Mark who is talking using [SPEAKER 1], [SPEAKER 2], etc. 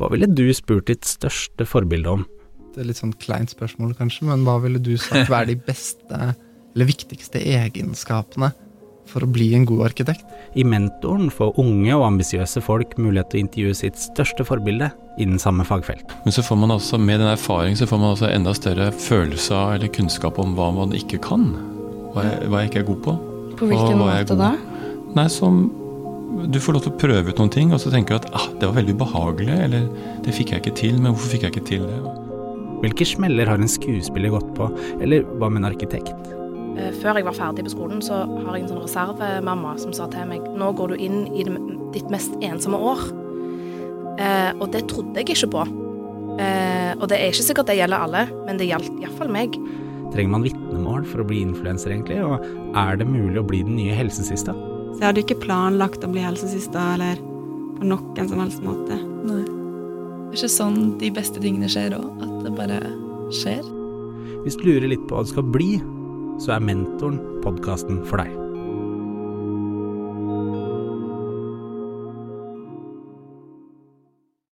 [SPEAKER 1] Hva ville du spurt ditt største forbilde om?
[SPEAKER 2] et litt sånn kleint spørsmål, kanskje, men hva ville du sagt være de beste eller viktigste egenskapene for å bli en god arkitekt?
[SPEAKER 1] I Mentoren får unge og ambisiøse folk mulighet til å intervjue sitt største forbilde innen samme fagfelt.
[SPEAKER 3] Men så får man også, med den erfaringen så får man også enda større følelse av eller kunnskap om hva man ikke kan. Hva jeg, hva jeg ikke er god på.
[SPEAKER 4] På
[SPEAKER 3] Og
[SPEAKER 4] hvilken
[SPEAKER 3] hva er
[SPEAKER 4] måte
[SPEAKER 3] god?
[SPEAKER 4] da?
[SPEAKER 3] Nei, som du får lov til å prøve ut noen ting, og så tenker du at ah, det var veldig ubehagelig, eller det fikk jeg ikke til, men hvorfor fikk jeg ikke til det?
[SPEAKER 1] Hvilke smeller har en skuespiller gått på, eller hva med en arkitekt?
[SPEAKER 5] Eh, Før jeg var ferdig på skolen, så har jeg en sånn reservemamma som sa til meg nå går du inn i det, ditt mest ensomme år. Eh, og det trodde jeg ikke på. Eh, og det er ikke sikkert det gjelder alle, men det gjaldt iallfall meg.
[SPEAKER 1] Trenger man vitnemål for å bli influenser, egentlig? Og er det mulig å bli den nye helsesista?
[SPEAKER 4] Så jeg hadde ikke planlagt å bli helsesista eller på noen som helst måte.
[SPEAKER 6] Nei. Det er ikke sånn de beste tingene skjer òg. At det bare skjer.
[SPEAKER 1] Hvis du lurer litt på hva du skal bli, så er Mentoren podkasten for deg.